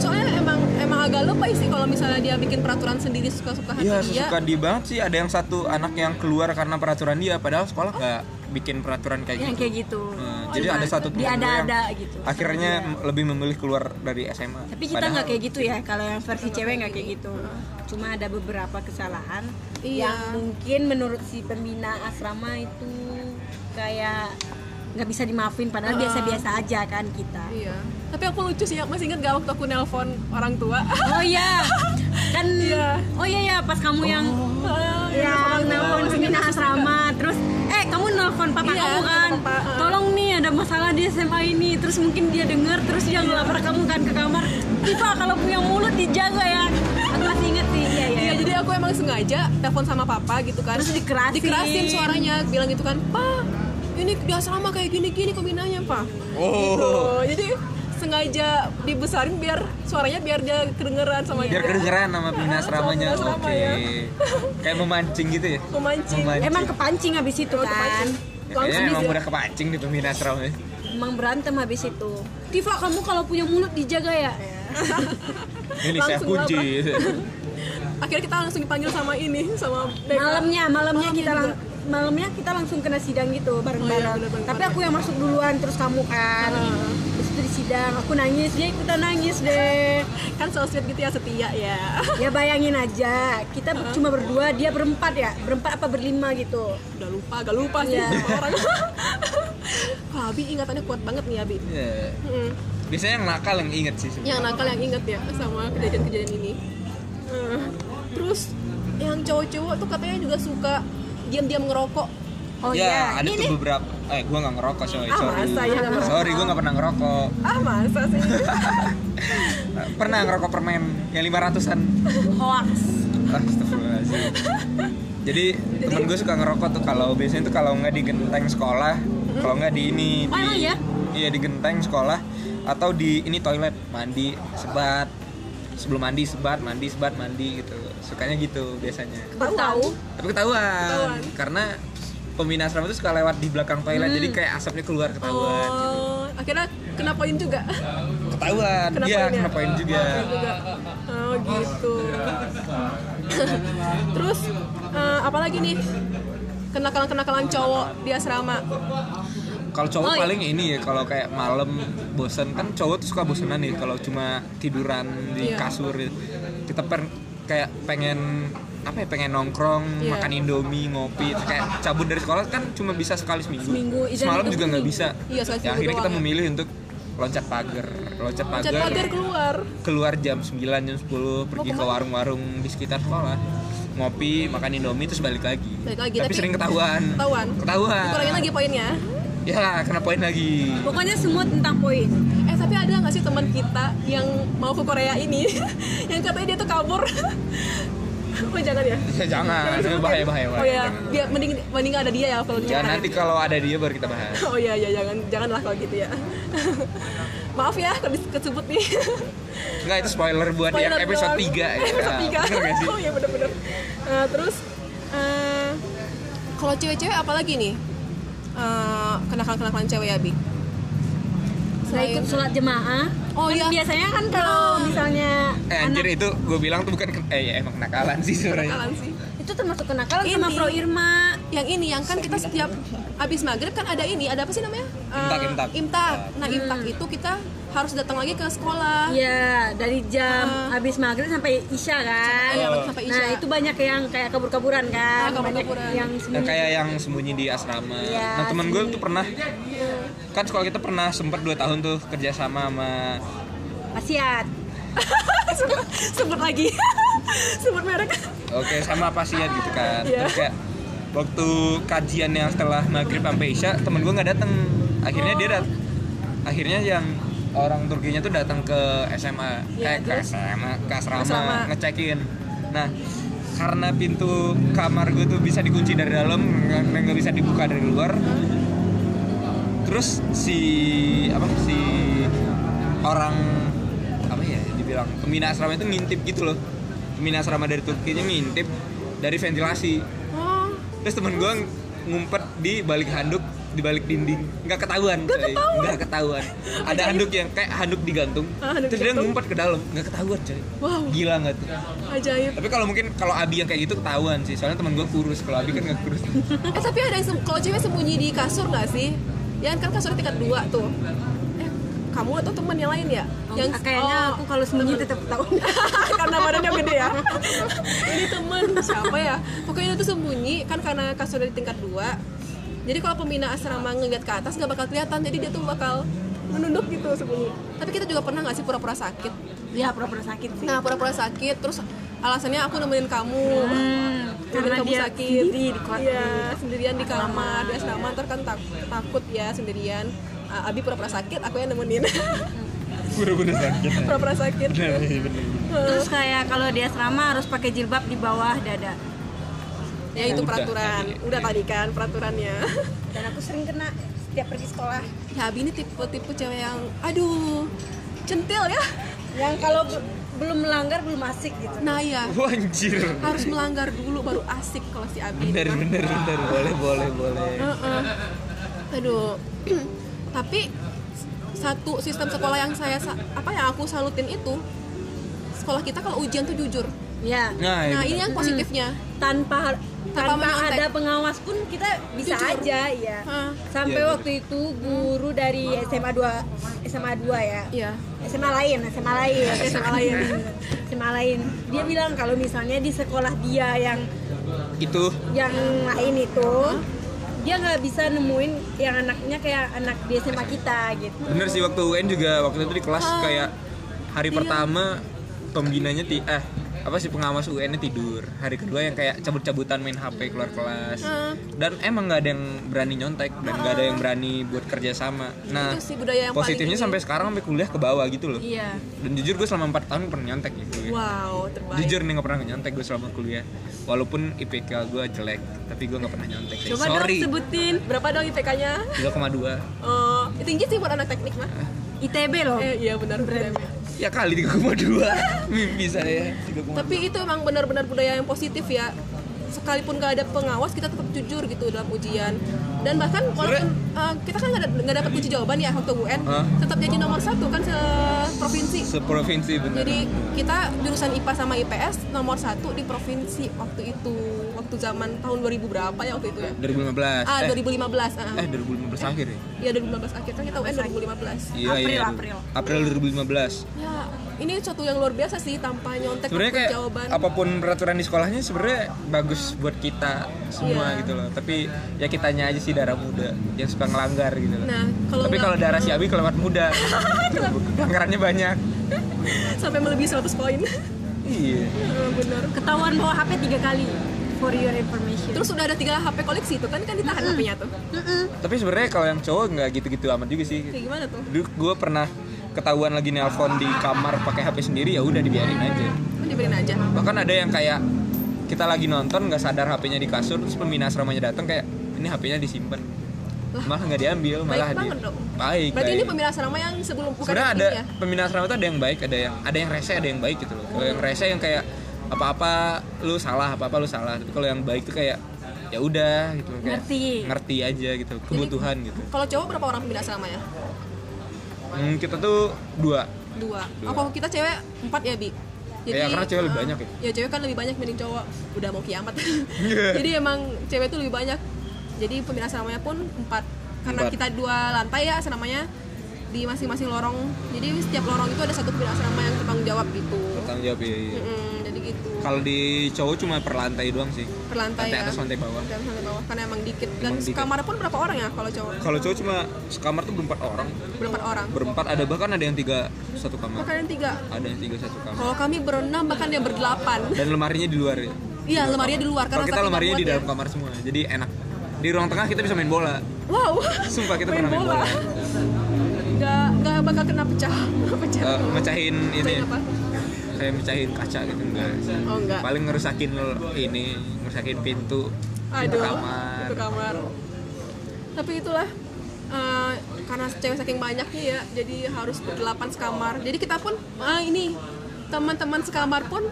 Speaker 1: soalnya emang emang agak lebay sih kalau misalnya dia bikin peraturan sendiri suka-suka hati
Speaker 3: Iya
Speaker 1: dia
Speaker 3: sesuka dia banget sih ada yang satu anak yang keluar karena peraturan dia padahal sekolah nggak bikin peraturan
Speaker 2: Yang
Speaker 3: kayak gitu.
Speaker 2: kayak gitu.
Speaker 3: Nah, jadi ada satu temen
Speaker 2: Dia
Speaker 3: gue yang
Speaker 2: ada-ada gitu.
Speaker 3: akhirnya m- lebih memilih keluar dari SMA.
Speaker 2: Tapi kita
Speaker 3: Padahal-
Speaker 2: nggak kayak gitu ya, kalau yang versi cewek nggak kayak gitu. Cuma ada beberapa kesalahan
Speaker 1: Iya.
Speaker 2: yang mungkin menurut si pembina asrama itu kayak nggak bisa dimaafin padahal biasa-biasa
Speaker 1: Ah.
Speaker 2: aja kan kita.
Speaker 1: iya tapi aku lucu sih aku masih inget gak waktu aku nelpon orang tua [laughs]
Speaker 2: Oh iya. Kan
Speaker 1: Iya.
Speaker 2: Oh iya ya pas kamu yang
Speaker 1: Iya, gitu.
Speaker 2: yang nelpon pembina asrama terus eh kamu nelpon papa
Speaker 1: Iya,
Speaker 2: kamu kan
Speaker 1: nelpon papa.
Speaker 2: tolong nih ada masalah di SMA ini terus mungkin dia dengar terus dia ngelapor kamu kan ke kamar tiba kalau punya mulut dijaga ya aku masih inget sih iya iya
Speaker 1: Iya, jadi aku emang sengaja telepon sama papa gitu kan.
Speaker 2: Terus dikerasin.
Speaker 1: Dikerasin suaranya, bilang gitu kan, "Pa, ini di asrama kayak gini-gini kombinanya, Pa."
Speaker 3: Oh.
Speaker 1: Gitu. Jadi sengaja dibesarin biar suaranya biar dia kedengeran sama
Speaker 2: Iya.
Speaker 3: biar
Speaker 1: dia.
Speaker 3: kedengeran nama pembina asramanya.
Speaker 1: Sama pembina asrama
Speaker 3: Oke.
Speaker 1: ya.
Speaker 3: Kayak memancing gitu ya.
Speaker 1: Memancing.
Speaker 3: Memancing.
Speaker 2: emang kepancing habis itu
Speaker 1: Emang
Speaker 2: kan
Speaker 1: Oh, kepancing.
Speaker 3: Ya,
Speaker 1: Langsung
Speaker 3: Kayaknya emang
Speaker 1: dia-
Speaker 3: udah kepancing di pembina asramanya.
Speaker 2: emang berantem habis itu Tifa kamu kalau punya mulut dijaga
Speaker 1: Iya,
Speaker 2: ya
Speaker 3: Ini saya
Speaker 1: Langsung
Speaker 3: kunci.
Speaker 1: Akhirnya kita langsung dipanggil sama ini sama BK.
Speaker 2: malamnya malamnya
Speaker 1: Malamnya
Speaker 2: kita
Speaker 1: juga.
Speaker 2: lang- malamnya kita langsung kena sidang gitu
Speaker 1: Oh iya,
Speaker 2: bareng-bareng
Speaker 1: bener-bener.
Speaker 2: tapi aku yang masuk duluan terus kamu kan
Speaker 1: Heeh.
Speaker 2: terus itu di sidang aku nangis dia ikutan nangis deh
Speaker 1: Kan so sweet gitu ya setia ya. [laughs]
Speaker 2: ya bayangin aja kita cuma berdua dia berempat ya berempat apa berlima gitu
Speaker 1: Udah lupa, gak lupa sih
Speaker 2: Iya.
Speaker 1: sama orang. [laughs] Wah, Abi ingatannya kuat banget nih, Abi.
Speaker 3: [laughs] Iya.
Speaker 1: Mm-mm.
Speaker 3: Biasanya yang nakal yang inget sih. sebenarnya.
Speaker 1: yang nakal yang inget ya sama kejadian-kejadian ini Eh, terus yang cowok-cowok tuh katanya juga suka diam-diam ngerokok
Speaker 2: oh
Speaker 3: ya,
Speaker 2: iya
Speaker 3: ada
Speaker 2: ini
Speaker 3: tuh
Speaker 2: nih
Speaker 3: beberapa. Eh, gua nggak ngerokok sorry.
Speaker 1: Ah,
Speaker 3: sorry.
Speaker 1: masa ya nggak ngerokok?
Speaker 3: sorry, gua nggak pernah ngerokok.
Speaker 1: ah masa
Speaker 2: [laughs]
Speaker 1: sih
Speaker 3: Eh, Pernah ngerokok permen yang 500-an.
Speaker 2: hoax
Speaker 3: Astagfirullahaladzim. Jadi temen gue suka ngerokok tuh kalau biasanya tuh kalau nggak di genteng sekolah, kalau nggak di ini,
Speaker 2: Oh, emang
Speaker 3: di,
Speaker 2: iya?
Speaker 3: iya di genteng sekolah atau di ini toilet mandi sebat sebelum mandi sebat mandi sebat mandi gitu sukanya gitu biasanya
Speaker 1: kan?
Speaker 2: baru tahu
Speaker 3: tapi ketahuan,
Speaker 1: Ketahuan.
Speaker 3: karena pembina asrama tuh suka lewat di belakang toilet jadi kayak asapnya keluar ketahuan
Speaker 1: Hmm. oh akhirnya kena poin juga [laughs]
Speaker 3: ketahuan
Speaker 1: Kena
Speaker 3: dia
Speaker 1: poin ya?
Speaker 3: kena poin juga
Speaker 1: Poin juga oh gitu [laughs] terus eh, apalagi nih kenakalan-kenakalan cowok di asrama
Speaker 3: Kalau cowok
Speaker 2: Oh, iya.
Speaker 3: paling ini ya kalau kayak malam bosen kan cowok tuh suka bosenan nih kalau cuma tiduran di
Speaker 1: Iya.
Speaker 3: kasur gitu. kita per, kayak pengen apa ya pengen nongkrong
Speaker 1: Iya.
Speaker 3: makan indomie ngopi terus kayak cabut dari sekolah kan cuma bisa sekali seminggu,
Speaker 2: Seminggu, izin
Speaker 3: semalam
Speaker 2: itu
Speaker 3: juga nggak
Speaker 2: seminggu.
Speaker 3: bisa
Speaker 1: Iya, sekali
Speaker 3: ya,
Speaker 1: seminggu
Speaker 3: akhirnya kita
Speaker 1: doang ya.
Speaker 3: memilih untuk loncat pagar
Speaker 1: cat
Speaker 3: loncat pagar
Speaker 1: pagar keluar
Speaker 3: keluar jam 9 jam 10 pergi ke
Speaker 1: kemana?
Speaker 3: warung-warung di sekitar sekolah ngopi makan indomie terus balik lagi
Speaker 1: Balik lagi,
Speaker 3: tapi,
Speaker 1: Iya, tapi-
Speaker 3: sering ketahuan
Speaker 1: ketahuan
Speaker 3: ketahuan
Speaker 1: dikurangin lagi poinnya
Speaker 3: ya kena poin lagi [laughs]
Speaker 2: pokoknya semua tentang poin
Speaker 1: Eh tapi ada nggak sih teman kita yang mau ke Korea ini, [laughs] yang katanya dia tuh kabur? [laughs] oh jangan ya.
Speaker 3: Ya, jangan,
Speaker 1: Jangan
Speaker 3: Ini
Speaker 1: sebut
Speaker 3: bahaya
Speaker 1: ya?
Speaker 3: bahaya.
Speaker 1: Oh
Speaker 3: bahaya.
Speaker 1: ya, dia mending mending ada dia ya kalau
Speaker 3: Jangan
Speaker 1: [laughs] diceritain.
Speaker 3: nanti kalau ada dia baru kita bahas.
Speaker 1: Oh iya iya jangan janganlah kalau gitu ya. [laughs] maaf ya kalau dis- kesebut nih
Speaker 3: Enggak itu spoiler
Speaker 1: [laughs]
Speaker 3: buat yang
Speaker 1: Spoiler
Speaker 3: episode
Speaker 1: doang.
Speaker 3: 3 ya.
Speaker 1: episode
Speaker 3: Nah,
Speaker 1: tiga.
Speaker 3: bener nggak sih?
Speaker 1: [laughs] oh iya bener-bener Eh, terus eh, kalau cewek-cewek apalagi nih Eh, kenakalan-kenakalan cewek ya bi
Speaker 2: Saya ikut sholat jemaah.
Speaker 1: Oh,
Speaker 2: Kan
Speaker 1: iya.
Speaker 2: Biasanya kan kalau misalnya
Speaker 3: Eh, anjir
Speaker 2: anak-
Speaker 3: itu gue bilang tuh bukan ke- eh ya, emang nakalan sih sebenarnya.
Speaker 2: kan
Speaker 1: kenakalan sih
Speaker 2: itu termasuk kenakalan sama
Speaker 1: Ini.
Speaker 2: Pro Irma.
Speaker 1: yang ini yang kan kita setiap abis maghrib kan ada ini ada apa sih namanya Eh,
Speaker 3: Imtak, imtak.
Speaker 1: nah imtak itu kita harus datang lagi ke sekolah
Speaker 2: Hmm. Iya, dari jam
Speaker 1: Ah.
Speaker 2: habis maghrib sampai isya kan.
Speaker 1: Iya,
Speaker 3: Oh.
Speaker 1: sampai
Speaker 2: Nah,
Speaker 1: Isya.
Speaker 2: itu banyak yang kayak kabur-kaburan kan.
Speaker 1: Ah, kabur-kaburan.
Speaker 2: Banyak yang
Speaker 3: Nah,
Speaker 2: sembunyi.
Speaker 3: kayak yang sembunyi di asrama.
Speaker 2: Iya,
Speaker 3: nah, temen gue
Speaker 2: sembunyi.
Speaker 3: tuh pernah
Speaker 1: Iya.
Speaker 3: kan sekolah kita pernah sempat 2 tahun tuh kerja sama sama
Speaker 2: Pasiat.
Speaker 1: [laughs] sebut, sebut lagi [laughs] sebut merek
Speaker 3: oke sama pasien gitu kan.
Speaker 1: Iya.
Speaker 3: Terus kayak waktu kajian yang setelah maghrib sampai isya temen gue nggak datang. Akhirnya dia dat akhirnya yang orang Turkinya tuh datang ke SMA
Speaker 1: Iya,
Speaker 3: eh, ke
Speaker 1: terus?
Speaker 3: SMA ke asrama,
Speaker 1: Asrama.
Speaker 3: ngecekin. Nah karena pintu kamar gue tuh bisa dikunci dari dalam nggak nggak bisa dibuka dari luar terus si apa si orang apa ya dibilang pembina asrama itu ngintip gitu loh pembina asrama dari Turkinya ngintip dari ventilasi
Speaker 1: oh
Speaker 3: terus temen gue ngumpet di balik handuk di balik dinding nggak ketahuan nggak ketahuan, nggak
Speaker 1: [laughs]
Speaker 3: ketahuan. ada handuk yang kayak handuk digantung
Speaker 1: Ah, handuk
Speaker 3: terus dia
Speaker 1: digantung.
Speaker 3: ngumpet ke dalam nggak ketahuan coy
Speaker 1: Wow.
Speaker 3: gila nggak tuh
Speaker 1: ajaib
Speaker 3: tapi kalau mungkin kalau Abi yang kayak gitu ketahuan sih soalnya temen gue kurus kalau Abi kan nggak kurus [laughs]
Speaker 1: Eh tapi ada yang sem- kalau cewek sembunyi di kasur nggak sih? Ya kan kasurnya tingkat dua tuh. Eh kamu atau teman yang lain ya?
Speaker 2: Oh,
Speaker 1: yang
Speaker 2: kayaknya
Speaker 1: oh,
Speaker 2: aku kalau sembunyi tetap tahu.
Speaker 1: karena badannya gede ya. Ini temen siapa ya? Pokoknya itu sembunyi kan karena kasurnya di tingkat dua. Jadi kalau pembina asrama ngeliat ke atas nggak bakal kelihatan. Jadi dia tuh bakal menunduk gitu sembunyi. Tapi kita juga pernah nggak sih pura-pura sakit?
Speaker 2: Ya, pura-pura sakit sih.
Speaker 1: Nah Iya, pura-pura sakit terus alasannya aku nemenin kamu.
Speaker 2: Hmm,
Speaker 1: Karena
Speaker 2: karena
Speaker 1: kamu
Speaker 2: dia
Speaker 1: sakit.
Speaker 2: sendiri di kota.
Speaker 1: Iya, sendirian di kamar, di asrama ntar kan tak- takut ya sendirian. Ah, Abi pura-pura sakit, aku yang nemenin. [laughs]
Speaker 3: buru-buru sakit
Speaker 1: pura-pura sakit.
Speaker 3: bener bener
Speaker 2: Terus kayak kalau di asrama harus pakai jilbab di bawah dada.
Speaker 1: Ya itu
Speaker 3: Udah
Speaker 1: peraturan.
Speaker 3: tadi.
Speaker 1: Udah tadi kan peraturannya. [laughs]
Speaker 2: Dan aku sering kena setiap pergi sekolah.
Speaker 1: Ya Abi ini tipe-tipe cewek yang aduh, centil ya.
Speaker 2: Yang kalau be- belum melanggar belum asik gitu.
Speaker 1: Nah ya,
Speaker 3: Wah, anjir.
Speaker 1: harus melanggar dulu baru asik kalau si Abi.
Speaker 3: Bener,
Speaker 1: ini mah.
Speaker 3: bener, bener. Boleh, boleh, boleh.
Speaker 1: Heeh. Aduh. [clears throat] Tapi satu sistem sekolah yang saya sa- apa yang aku salutin itu sekolah kita kalau ujian tuh jujur.
Speaker 2: Ya.
Speaker 3: Nah, iya
Speaker 1: Nah,
Speaker 3: bener.
Speaker 1: ini yang positifnya.
Speaker 2: Tanpa
Speaker 1: Tanpa
Speaker 2: tanpa
Speaker 1: mengontek.
Speaker 2: ada pengawas pun kita bisa
Speaker 1: Jujur.
Speaker 2: aja ya.
Speaker 1: Hah.
Speaker 2: Sampai
Speaker 3: Iya, bener.
Speaker 2: waktu itu guru dari SMA 2 SMA 2 ya.
Speaker 1: Iya.
Speaker 2: SMA lain, SMA lain,
Speaker 1: SMA
Speaker 2: [laughs]
Speaker 1: lain.
Speaker 2: SMA lain. Dia bilang kalau misalnya di sekolah dia yang
Speaker 3: Itu
Speaker 2: yang lain itu dia nggak bisa nemuin yang anaknya kayak anak di SMA kita gitu.
Speaker 3: bener sih waktu UN juga waktu itu di kelas
Speaker 1: Ah,
Speaker 3: kayak hari
Speaker 1: iya.
Speaker 3: pertama pembinanya ti eh apa sih pengawas UN-nya tidur. Hari kedua yang kayak cabut-cabutan main HP keluar kelas.
Speaker 1: Ah.
Speaker 3: Dan emang nggak ada yang berani nyontek dan nggak ada yang berani buat kerja sama. Nah,
Speaker 1: Itu sih budaya yang paling
Speaker 3: positifnya
Speaker 1: ini.
Speaker 3: sampai sekarang sampai kuliah ke bawah gitu loh.
Speaker 2: Iya.
Speaker 3: Dan jujur gue selama 4 tahun pernah nyontek gitu ya.
Speaker 1: Wow, terbaik.
Speaker 3: Jujur nih gak pernah nyontek gue selama kuliah Walaupun IPK gue jelek Tapi gue gak pernah nyontek sih
Speaker 1: Coba
Speaker 3: Sorry
Speaker 1: dong sebutin berapa dong IPK-nya?
Speaker 3: 3,2
Speaker 1: Eh, tinggi sih buat anak teknik mah.
Speaker 2: ITB
Speaker 3: Oh.
Speaker 2: loh.
Speaker 1: Eh, iya benar benar.
Speaker 3: Ya kali 3,2 [laughs] Mimpi saya 3,2
Speaker 1: Tapi itu emang benar-benar budaya yang positif ya. Sekalipun gak ada pengawas, kita tetap jujur gitu dalam ujian. Dan bahkan walaupun eh, kita kan nggak da- nggak dapat kunci jawaban ya waktu UN,
Speaker 3: Hah?
Speaker 1: tetap jadi nomor satu kan se provinsi.
Speaker 3: Seprovinsi bener
Speaker 1: Jadi kita jurusan IPA sama IPS nomor satu di provinsi waktu itu, waktu zaman tahun 2000 berapa ya waktu itu ya?
Speaker 3: 2015
Speaker 1: Ah,
Speaker 3: eh,
Speaker 1: 2015. ah.
Speaker 3: eh 2015 akhir ya
Speaker 1: Ya 2015 akhir kan kita UN 2015.
Speaker 3: Iya
Speaker 2: April,
Speaker 3: iya
Speaker 2: April.
Speaker 3: April 2015
Speaker 1: Ya, ini suatu yang luar biasa sih tanpa nyontek
Speaker 3: Sebenarnya
Speaker 1: tanpa
Speaker 3: kayak
Speaker 1: jawaban.
Speaker 3: apapun peraturan di sekolahnya sebenarnya bagus buat kita semua
Speaker 1: Iya.
Speaker 3: gitu loh. Tapi ya kitanya aja sih darah muda yang suka ngelanggar gitu loh.
Speaker 1: Nah, kalau
Speaker 3: Tapi
Speaker 1: nggak-
Speaker 3: kalau darah si Abi kelewat
Speaker 1: [laughs]
Speaker 3: muda. Pelanggarannya banyak.
Speaker 1: sampai melebihi 100 poin. [laughs]
Speaker 3: Iya.
Speaker 1: Eh, Benar.
Speaker 2: Ketahuan bawa HP tiga kali. For your information.
Speaker 1: Terus udah ada tiga HP koleksi itu kan kan ditahan HP-nya tuh.
Speaker 3: Tapi sebenarnya kalau yang cowok nggak gitu-gitu amat juga sih.
Speaker 1: Kayak gimana tuh?
Speaker 3: Dulu gue pernah ketahuan lagi nelpon di kamar pakai HP sendiri ya udah dibiarin aja.
Speaker 1: Kan dibeliin aja.
Speaker 3: Bahkan ada yang kayak kita lagi nonton nggak sadar HP-nya di kasur terus pembina asramanya datang kayak ini HP-nya disimpan. malah nggak diambil malah
Speaker 1: banget
Speaker 3: di-
Speaker 1: dong.
Speaker 3: baik
Speaker 1: Berarti
Speaker 3: baik.
Speaker 1: ini pembina asrama yang sebelum bukan
Speaker 3: ya. sebenarnya
Speaker 1: yang
Speaker 3: ada
Speaker 1: ini ya?
Speaker 3: pembina asrama tuh ada yang baik ada yang ada yang rese ada yang baik gitu loh kalau yang rese yang kayak apa apa lu salah apa apa lu salah tapi kalau yang baik tuh kayak ya udah gitu kayak
Speaker 2: Ngerti.
Speaker 3: ngerti aja gitu kebutuhan gitu
Speaker 1: Kalau cowok berapa orang pembina asrama ya?
Speaker 3: Hmm, kita tuh dua
Speaker 1: Dua.
Speaker 3: Dua.
Speaker 1: Oh, kalau kita cewek empat ya, Bi.
Speaker 3: Ya, karena cewek lebih
Speaker 1: eh,
Speaker 3: banyak ya. Iya.
Speaker 1: Ya cewek kan lebih banyak dibanding cowok. Udah mau kiamat. [laughs] Jadi emang cewek tuh lebih banyak. Jadi pembina asramanya pun empat. Karena
Speaker 3: Empat.
Speaker 1: kita dua lantai ya asramanya di masing-masing lorong. Jadi setiap lorong itu ada satu pembina asrama yang bertanggung jawab gitu.
Speaker 3: bertanggung jawab ya, ya.
Speaker 1: Mm-mm, jadi gitu.
Speaker 3: kalau di cowok cuma per lantai doang sih
Speaker 1: per lantai,
Speaker 3: lantai
Speaker 1: ya.
Speaker 3: atas lantai bawah
Speaker 1: Dan lantai bawah karena emang dikit dan
Speaker 3: Emang dikit.
Speaker 1: kamar pun berapa orang ya kalau cowok?
Speaker 3: kalau cowok cuma sekamar tuh berempat orang
Speaker 1: Berapa orang?
Speaker 3: berempat ada bahkan ada yang tiga satu kamar
Speaker 1: Makanan tiga.
Speaker 3: ada yang tiga satu kamar
Speaker 1: Kalau kami berenam bahkan ya berdelapan.
Speaker 3: dan lemarinya di luar ya
Speaker 1: Iya, lemarinya di luar
Speaker 3: kalau
Speaker 1: karena
Speaker 3: kita
Speaker 1: saking
Speaker 3: lemarinya
Speaker 1: nggak
Speaker 3: di dalam
Speaker 1: muat
Speaker 3: kamar semua jadi enak di ruang tengah kita bisa main bola
Speaker 1: ya. Wow.
Speaker 3: sumpah kita
Speaker 1: main
Speaker 3: pernah main
Speaker 1: bola.
Speaker 3: bola,
Speaker 1: Nggak nggak bakal kena pecah. [laughs] pecah.
Speaker 3: Eh, mecahin ini
Speaker 1: Apa?
Speaker 3: kayak mecahin kaca gitu enggak
Speaker 1: Oh enggak.
Speaker 3: paling ngerusakin ini ngerusakin pintu pintu
Speaker 1: Aduh.
Speaker 3: kamar
Speaker 1: Itu kamar. Tapi itulah eh, karena cewek saking banyaknya ya, jadi harus berdelapan sekamar. Jadi kita pun ah ini teman-teman sekamar pun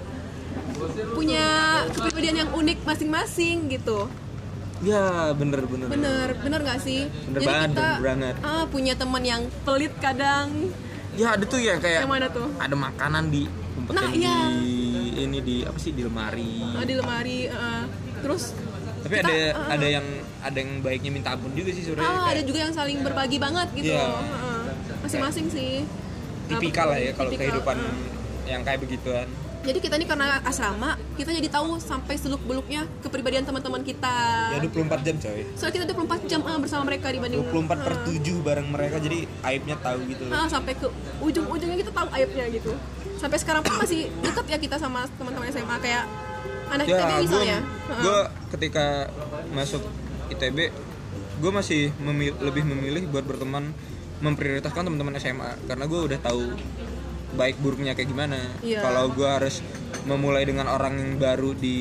Speaker 1: punya kepribadian yang unik masing-masing gitu.
Speaker 3: ya bener bener
Speaker 1: Bener, bener gak sih?
Speaker 3: Bener
Speaker 1: Jadi
Speaker 3: banget,
Speaker 1: kita
Speaker 3: bener banget.
Speaker 1: ah, punya teman yang pelit kadang.
Speaker 3: ya ada tuh ya kayak
Speaker 1: Yang mana tuh?
Speaker 3: ada makanan di umpetin
Speaker 1: Nah, iya.
Speaker 3: di ini di apa sih di lemari
Speaker 1: Ah, di lemari, eh, terus
Speaker 3: tapi ada ada yang ada yang baiknya minta ampun juga sih sebenarnya
Speaker 1: eh, ah, ada
Speaker 3: kayak
Speaker 1: juga yang saling berbagi banget gitu.
Speaker 3: Iya.
Speaker 1: Heeh. Masing-masing sih. Nah,
Speaker 3: tipikal lah ya kalau
Speaker 1: tipikal, Ah.
Speaker 3: kehidupan
Speaker 1: heeh.
Speaker 3: yang kayak begituan
Speaker 1: Jadi kita ini karena asrama, kita jadi tahu sampai seluk-beluknya kepribadian teman-teman kita.
Speaker 3: ya 24 jam coy
Speaker 1: Soalnya kita 24 jam ah, bersama mereka dibanding
Speaker 3: 24 per 7 bareng mereka jadi aibnya tahu gitu loh
Speaker 1: ah, sampai ke ujung-ujungnya kita tahu aibnya gitu. Sampai sekarang pun masih deket ya kita sama teman-teman SMA kayak anak
Speaker 3: ya
Speaker 1: ITB
Speaker 3: gue
Speaker 1: misalnya. Ah, Heeh.
Speaker 3: gue ketika masuk ITB gue masih memil- lebih memilih buat berteman memprioritaskan teman-teman SMA karena gue udah tahu baik buruknya kayak gimana
Speaker 1: Iya.
Speaker 3: kalau gue harus memulai dengan orang yang baru di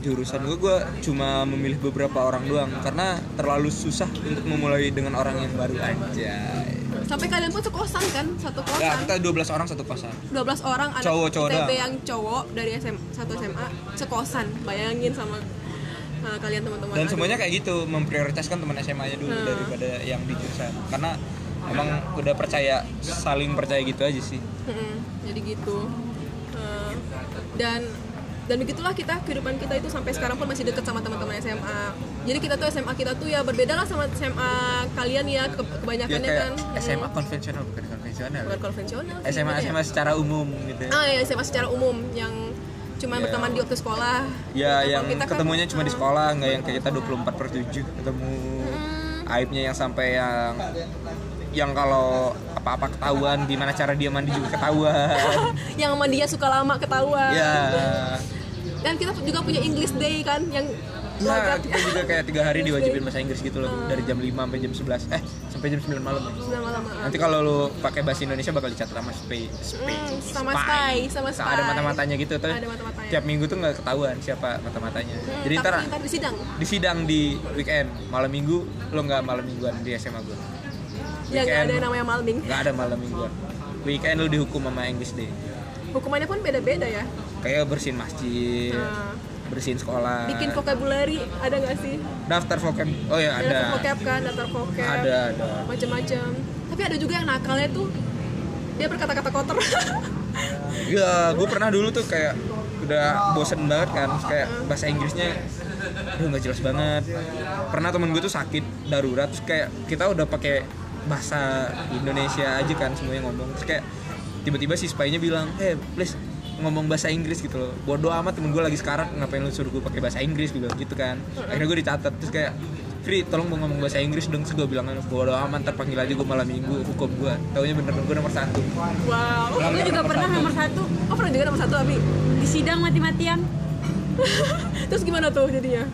Speaker 3: jurusan gue gue cuma memilih beberapa orang doang karena terlalu susah untuk memulai dengan orang yang baru aja
Speaker 1: Sampai kalian pun sekosan kan, satu kosan.
Speaker 3: ya kita 12 orang satu kosan
Speaker 1: 12 orang anak
Speaker 3: Cowok- cowok
Speaker 1: ITB
Speaker 3: doang.
Speaker 1: yang cowok dari SM, satu SMA sekosan. Bayangin sama uh, kalian teman-teman.
Speaker 3: dan
Speaker 1: Aduh.
Speaker 3: semuanya kayak gitu memprioritaskan teman SMA-nya dulu
Speaker 1: Hmm.
Speaker 3: daripada yang di jurusan karena emang udah percaya saling percaya gitu aja sih
Speaker 1: Mm-mm, jadi gitu. Uh, dan dan begitulah kita kehidupan kita itu sampai sekarang pun masih deket sama teman-teman SMA. Jadi kita tuh SMA kita tuh ya berbeda lah sama SMA kalian ya ke-
Speaker 3: ya
Speaker 1: kebanyakannya
Speaker 3: kayak
Speaker 1: kan mm,
Speaker 3: SMA konvensional bukan konvensional
Speaker 1: bukan konvensional. sih,
Speaker 3: SMA
Speaker 1: gitu ya.
Speaker 3: SMA secara umum gitu ya.
Speaker 1: Ah ya SMA secara umum yang cuma
Speaker 3: Ya.
Speaker 1: berteman di waktu sekolah.
Speaker 3: ya
Speaker 1: Kalau
Speaker 3: yang
Speaker 1: kita kan,
Speaker 3: ketemunya cuma di
Speaker 1: uh,
Speaker 3: sekolah nggak yang kayak kita 24 per 7 ketemu
Speaker 1: mm,
Speaker 3: aibnya yang sampai yang yang kalau apa-apa ketahuan gimana cara dia mandi
Speaker 1: [laughs]
Speaker 3: juga ketahuan
Speaker 1: [laughs] yang sama dia suka lama ketawa
Speaker 3: ya
Speaker 1: dan kita juga punya English Day kan yang
Speaker 3: ya
Speaker 1: logat
Speaker 3: kita
Speaker 1: [laughs]
Speaker 3: juga kayak tiga hari diwajibin bahasa Inggris gitu loh dari jam 5 sampai jam 11 eh sampai jam 9 malam
Speaker 1: Sembilan malam ah.
Speaker 3: Nanti kalau lu pakai bahasa Indonesia bakal dicatat sama spy, spy,
Speaker 1: Hmm, sama spy, sama spy.
Speaker 3: Ada mata-matanya gitu tuh.
Speaker 1: Ada mata-matanya.
Speaker 3: Tiap minggu tuh nggak ketahuan siapa mata-matanya.
Speaker 1: Hmm,
Speaker 3: Jadi
Speaker 1: tapi
Speaker 3: ntar
Speaker 1: ntar di sidang
Speaker 3: di sidang di weekend malam minggu lo nggak malam mingguan di SMA gue.
Speaker 1: ya nggak ada
Speaker 3: Weekend.
Speaker 1: yang namanya malming
Speaker 3: Nggak ada malam mingguan. Weekend lu dihukum sama English Day.
Speaker 1: hukumannya pun beda-beda ya
Speaker 3: Kayak bersihin masjid,
Speaker 1: Nah,
Speaker 3: bersihin sekolah.
Speaker 1: bikin vocabulary ada nggak sih
Speaker 3: daftar vocab. Oh ya
Speaker 1: ada daftar
Speaker 3: ada.
Speaker 1: vocab kan daftar vocab
Speaker 3: Ada ada.
Speaker 1: macam-macam tapi ada juga yang nakalnya tuh dia berkata-kata kotor [laughs]
Speaker 3: Ya, gue pernah dulu tuh kayak udah bosen banget kan, kayak bahasa Inggrisnya aduh nggak jelas banget. Pernah temen gue tuh sakit darurat, terus kayak kita udah pakai bahasa Indonesia aja kan semuanya ngomong, terus kayak tiba-tiba si spy-nya bilang, eh please ngomong bahasa Inggris gitu loh bodoh amat temen gue lagi sekarat ngapain lu suruh gue pakai bahasa Inggris gitu gitu kan akhirnya gue dicatat terus kayak Fri tolong mau ngomong bahasa Inggris dong terus gue bilang bodoh amat terpanggil aja gue malam minggu hukum gue taunya bener gue nomor satu
Speaker 1: wow
Speaker 2: Oh, lu juga pernah nomor satu
Speaker 1: oh pernah juga nomor satu abi
Speaker 2: di sidang mati-matian
Speaker 1: terus gimana tuh jadinya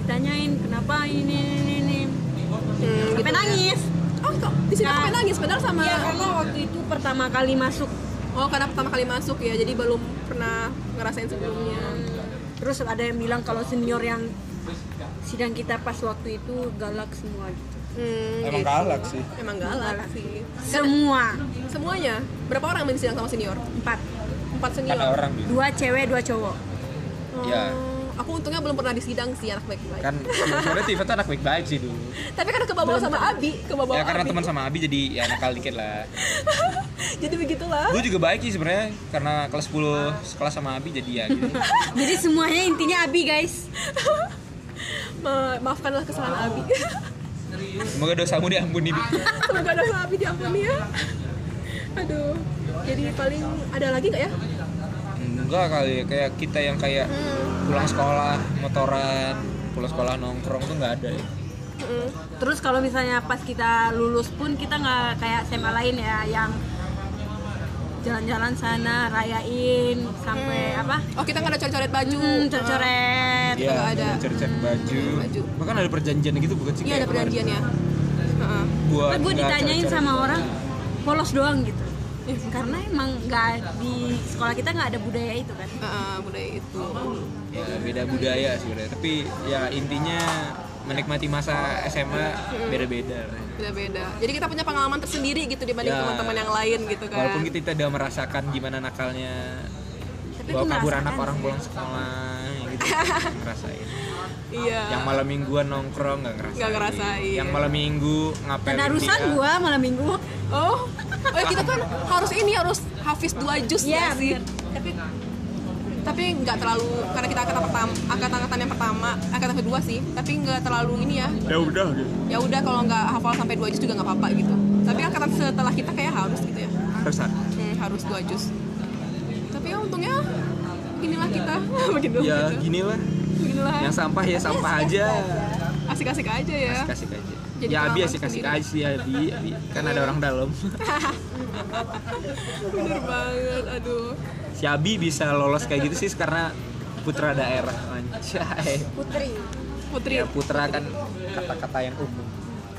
Speaker 2: ditanyain kenapa ini ini ini
Speaker 1: hmm,
Speaker 2: sampai nangis
Speaker 1: oh kok di sini
Speaker 2: Nah.
Speaker 1: sampai nangis benar sama
Speaker 2: Iya karena waktu itu pertama kali masuk
Speaker 1: oh karena pertama kali masuk ya jadi belum pernah ngerasain sebelumnya
Speaker 2: terus ada yang bilang kalau senior yang sidang kita pas waktu itu galak semua gitu.
Speaker 1: Hmm,
Speaker 4: Emang
Speaker 1: gitu.
Speaker 4: galak sih.
Speaker 1: Emang galak
Speaker 2: Galak.
Speaker 1: sih.
Speaker 2: Semua
Speaker 1: Semuanya. Berapa orang main sidang sama senior?
Speaker 2: empat,
Speaker 1: Empat senior.
Speaker 3: Ada orang gitu.
Speaker 2: dua cewek dua [laughs] cowok.
Speaker 1: Oh,
Speaker 3: Ya.
Speaker 1: Aku untungnya belum pernah di sidang sih anak baik-baik.
Speaker 3: Kan sebenarnya Tifa tuh anak baik-baik sih dulu.
Speaker 1: Tapi kan kebawa sama Abi, kebawa
Speaker 3: ya karena
Speaker 1: Abi.
Speaker 3: teman sama Abi jadi ya nakal dikit lah.
Speaker 1: [laughs] Jadi begitulah.
Speaker 3: Gue juga baik sih sebenarnya karena kelas 10 sekolah sama Abi jadi ya gitu.
Speaker 2: Jadi semuanya intinya abi guys.
Speaker 1: Ma- maafkanlah kesalahan Abi. [laughs]
Speaker 3: Semoga dosamu diampuni. Bi.
Speaker 1: Semoga dosa Abi diampuni ya. Aduh. Jadi paling ada lagi nggak ya?
Speaker 3: Enggak kali ya, kayak kita yang kayak pulang sekolah motoran, pulang sekolah nongkrong tuh nggak ada ya.
Speaker 1: Mm-mm.
Speaker 2: Terus kalau misalnya pas kita lulus pun kita nggak kayak SMA lain ya yang jalan-jalan sana rayain sampai apa?
Speaker 1: Oh kita nggak ada coret-coret baju.
Speaker 2: Hmm, coret-coret.
Speaker 3: Hmm. Iya,
Speaker 1: nggak ada. Hmm,
Speaker 3: cari-cari baju.
Speaker 1: baju.
Speaker 3: Bahkan ada perjanjian gitu bukan sih?
Speaker 1: Iya ada
Speaker 3: kayak kemarin?
Speaker 1: perjanjiannya. Heeh.
Speaker 3: Buat
Speaker 2: gue
Speaker 3: nggak
Speaker 2: ditanyain
Speaker 3: cari-cari.
Speaker 2: sama orang polos doang gitu. Karena emang nggak di sekolah kita nggak ada budaya itu kan.
Speaker 1: Heeh, budaya itu.
Speaker 3: ya, beda budaya sebenarnya tapi ya intinya menikmati masa SMA beda-beda lah.
Speaker 1: Beda-beda. Jadi kita punya pengalaman tersendiri gitu dibanding
Speaker 3: Ya.
Speaker 1: teman-teman yang lain gitu kan.
Speaker 3: walaupun kita tidak merasakan gimana nakalnya
Speaker 2: Tapi aku
Speaker 3: bawa kabur
Speaker 2: merasakan
Speaker 3: anak
Speaker 2: sih.
Speaker 3: orang pulang sekolah ya
Speaker 1: [laughs]
Speaker 3: gitu ngerasain
Speaker 1: Iya.
Speaker 3: yang malam mingguan nongkrong nggak ngerasain
Speaker 1: Nggak ngerasain.
Speaker 3: yang malam minggu ngapel
Speaker 2: Penarusan gue malam minggu.
Speaker 1: Oh, oh ya kita kan harus ini harus hafiz dua juz ya
Speaker 2: Iya,
Speaker 1: sih.
Speaker 2: bener.
Speaker 1: Tapi tapi nggak terlalu karena kita angkatan pertama, angkatan-angkatan yang pertama, angkatan kedua sih. Tapi nggak terlalu ini ya.
Speaker 3: ya udah gitu
Speaker 1: Ya udah kalau nggak hafal sampai dua juz juga nggak apa-apa gitu. Tapi angkatan setelah kita kayak harus gitu ya.
Speaker 3: harus ada.
Speaker 1: Hmm, harus dua juz. Tapi ya untungnya inilah kita [laughs] begitu
Speaker 3: ya
Speaker 1: gitu.
Speaker 3: gini lah
Speaker 1: Beginilah.
Speaker 3: yang sampah ya sampah aja
Speaker 1: Asik-asik aja ya.
Speaker 3: kasih aja
Speaker 1: Jadi
Speaker 3: ya abi
Speaker 1: pengalaman
Speaker 3: asik kasih
Speaker 1: sendiri. Iya.
Speaker 3: aja sih abi, abi kan ada orang dalam
Speaker 1: Bener banget. Aduh.
Speaker 3: si abi bisa lolos kayak gitu sih karena putra daerah anjay
Speaker 2: Putri.
Speaker 1: Putri.
Speaker 3: ya putra kan kata-kata yang umum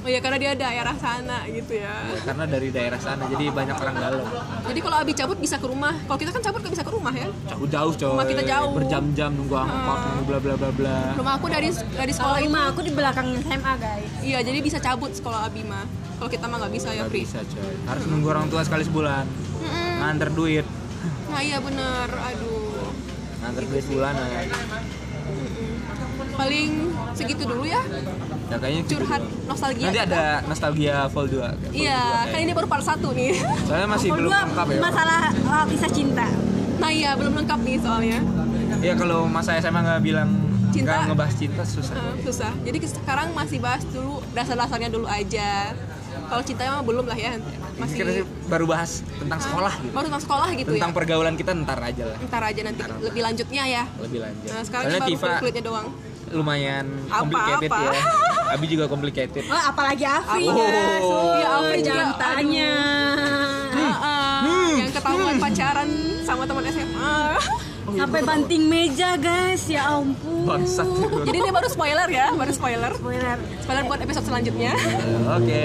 Speaker 1: Oh ya karena dia daerah sana gitu ya.
Speaker 3: karena dari daerah sana jadi banyak orang galau
Speaker 1: Jadi kalau Abi cabut bisa ke rumah. Kalau kita kan cabut nggak bisa ke rumah ya.
Speaker 3: jauh jauh coy
Speaker 1: Rumah kita jauh. Ah.
Speaker 3: berjam-jam nunggu angkot nunggu bla bla bla bla
Speaker 1: Rumah aku dari dari
Speaker 2: Kalau
Speaker 1: sekolah itu.
Speaker 2: rumah aku di belakang SMA guys.
Speaker 1: Iya, jadi bisa cabut sekolah Abi mah. Kalau kita mah nggak bisa ya,
Speaker 3: nggak
Speaker 1: Pri.
Speaker 3: bisa coy harus nunggu orang tua sekali sebulan
Speaker 1: Mm-mm.
Speaker 3: nganter duit
Speaker 1: Nah iya bener. Aduh.
Speaker 3: nganter
Speaker 1: Iya
Speaker 3: duit bulanan
Speaker 1: Paling segitu dulu ya
Speaker 3: ya kayaknya gitu
Speaker 1: curhat
Speaker 3: doang.
Speaker 1: nostalgia.
Speaker 3: nanti
Speaker 1: kita.
Speaker 3: ada nostalgia vol 2
Speaker 1: Iya, kan ini baru part satu nih. [laughs]
Speaker 3: soalnya masih
Speaker 2: Kalau
Speaker 3: belum
Speaker 2: dua,
Speaker 3: lengkap ya
Speaker 2: masalah uh, kisah cinta.
Speaker 1: Nah iya, belum lengkap nih soalnya.
Speaker 3: ya kalau masa SMA nggak bilang
Speaker 1: Cinta.
Speaker 3: nggak ngebahas cinta susah
Speaker 1: Eh, susah. Jadi ke- sekarang masih bahas dulu dasar-dasarnya dulu aja. Kalau cintanya mah belum lah ya.
Speaker 3: Ini kita sih
Speaker 1: Masih
Speaker 3: baru bahas tentang sekolah gitu
Speaker 1: baru tentang sekolah gitu
Speaker 3: tentang
Speaker 1: ya.
Speaker 3: pergaulan kita ntar aja lah
Speaker 1: Ntar aja nanti lebih lanjutnya ya.
Speaker 3: lebih lanjut
Speaker 1: Nah, sekarang
Speaker 3: soalnya
Speaker 1: baru
Speaker 3: Tifa
Speaker 1: kulitnya doang.
Speaker 3: lumayan
Speaker 1: Apa-apa.
Speaker 3: complicated ya Abi juga complicated
Speaker 2: Oh, apalagi Afri
Speaker 3: Aku-
Speaker 2: guys. Ya
Speaker 3: Oh.
Speaker 1: Iya, Afri
Speaker 2: jangan
Speaker 1: juga.
Speaker 2: tanya.
Speaker 1: Heeh, Ah, yang ketahuan pacaran sama teman SMA.
Speaker 2: Sampai banting meja guys, ya ampun.
Speaker 1: [laughs]
Speaker 3: bangsat
Speaker 1: [laughs] Jadi ini baru spoiler ya, baru spoiler.
Speaker 2: Spoiler.
Speaker 1: Spoiler buat episode selanjutnya.
Speaker 3: oke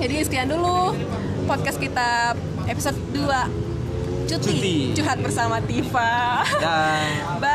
Speaker 1: Jadi sekian dulu podcast kita episode 2. Cuti,
Speaker 3: Cuti.
Speaker 1: curhat bersama Tifa.
Speaker 3: dan
Speaker 1: Bye.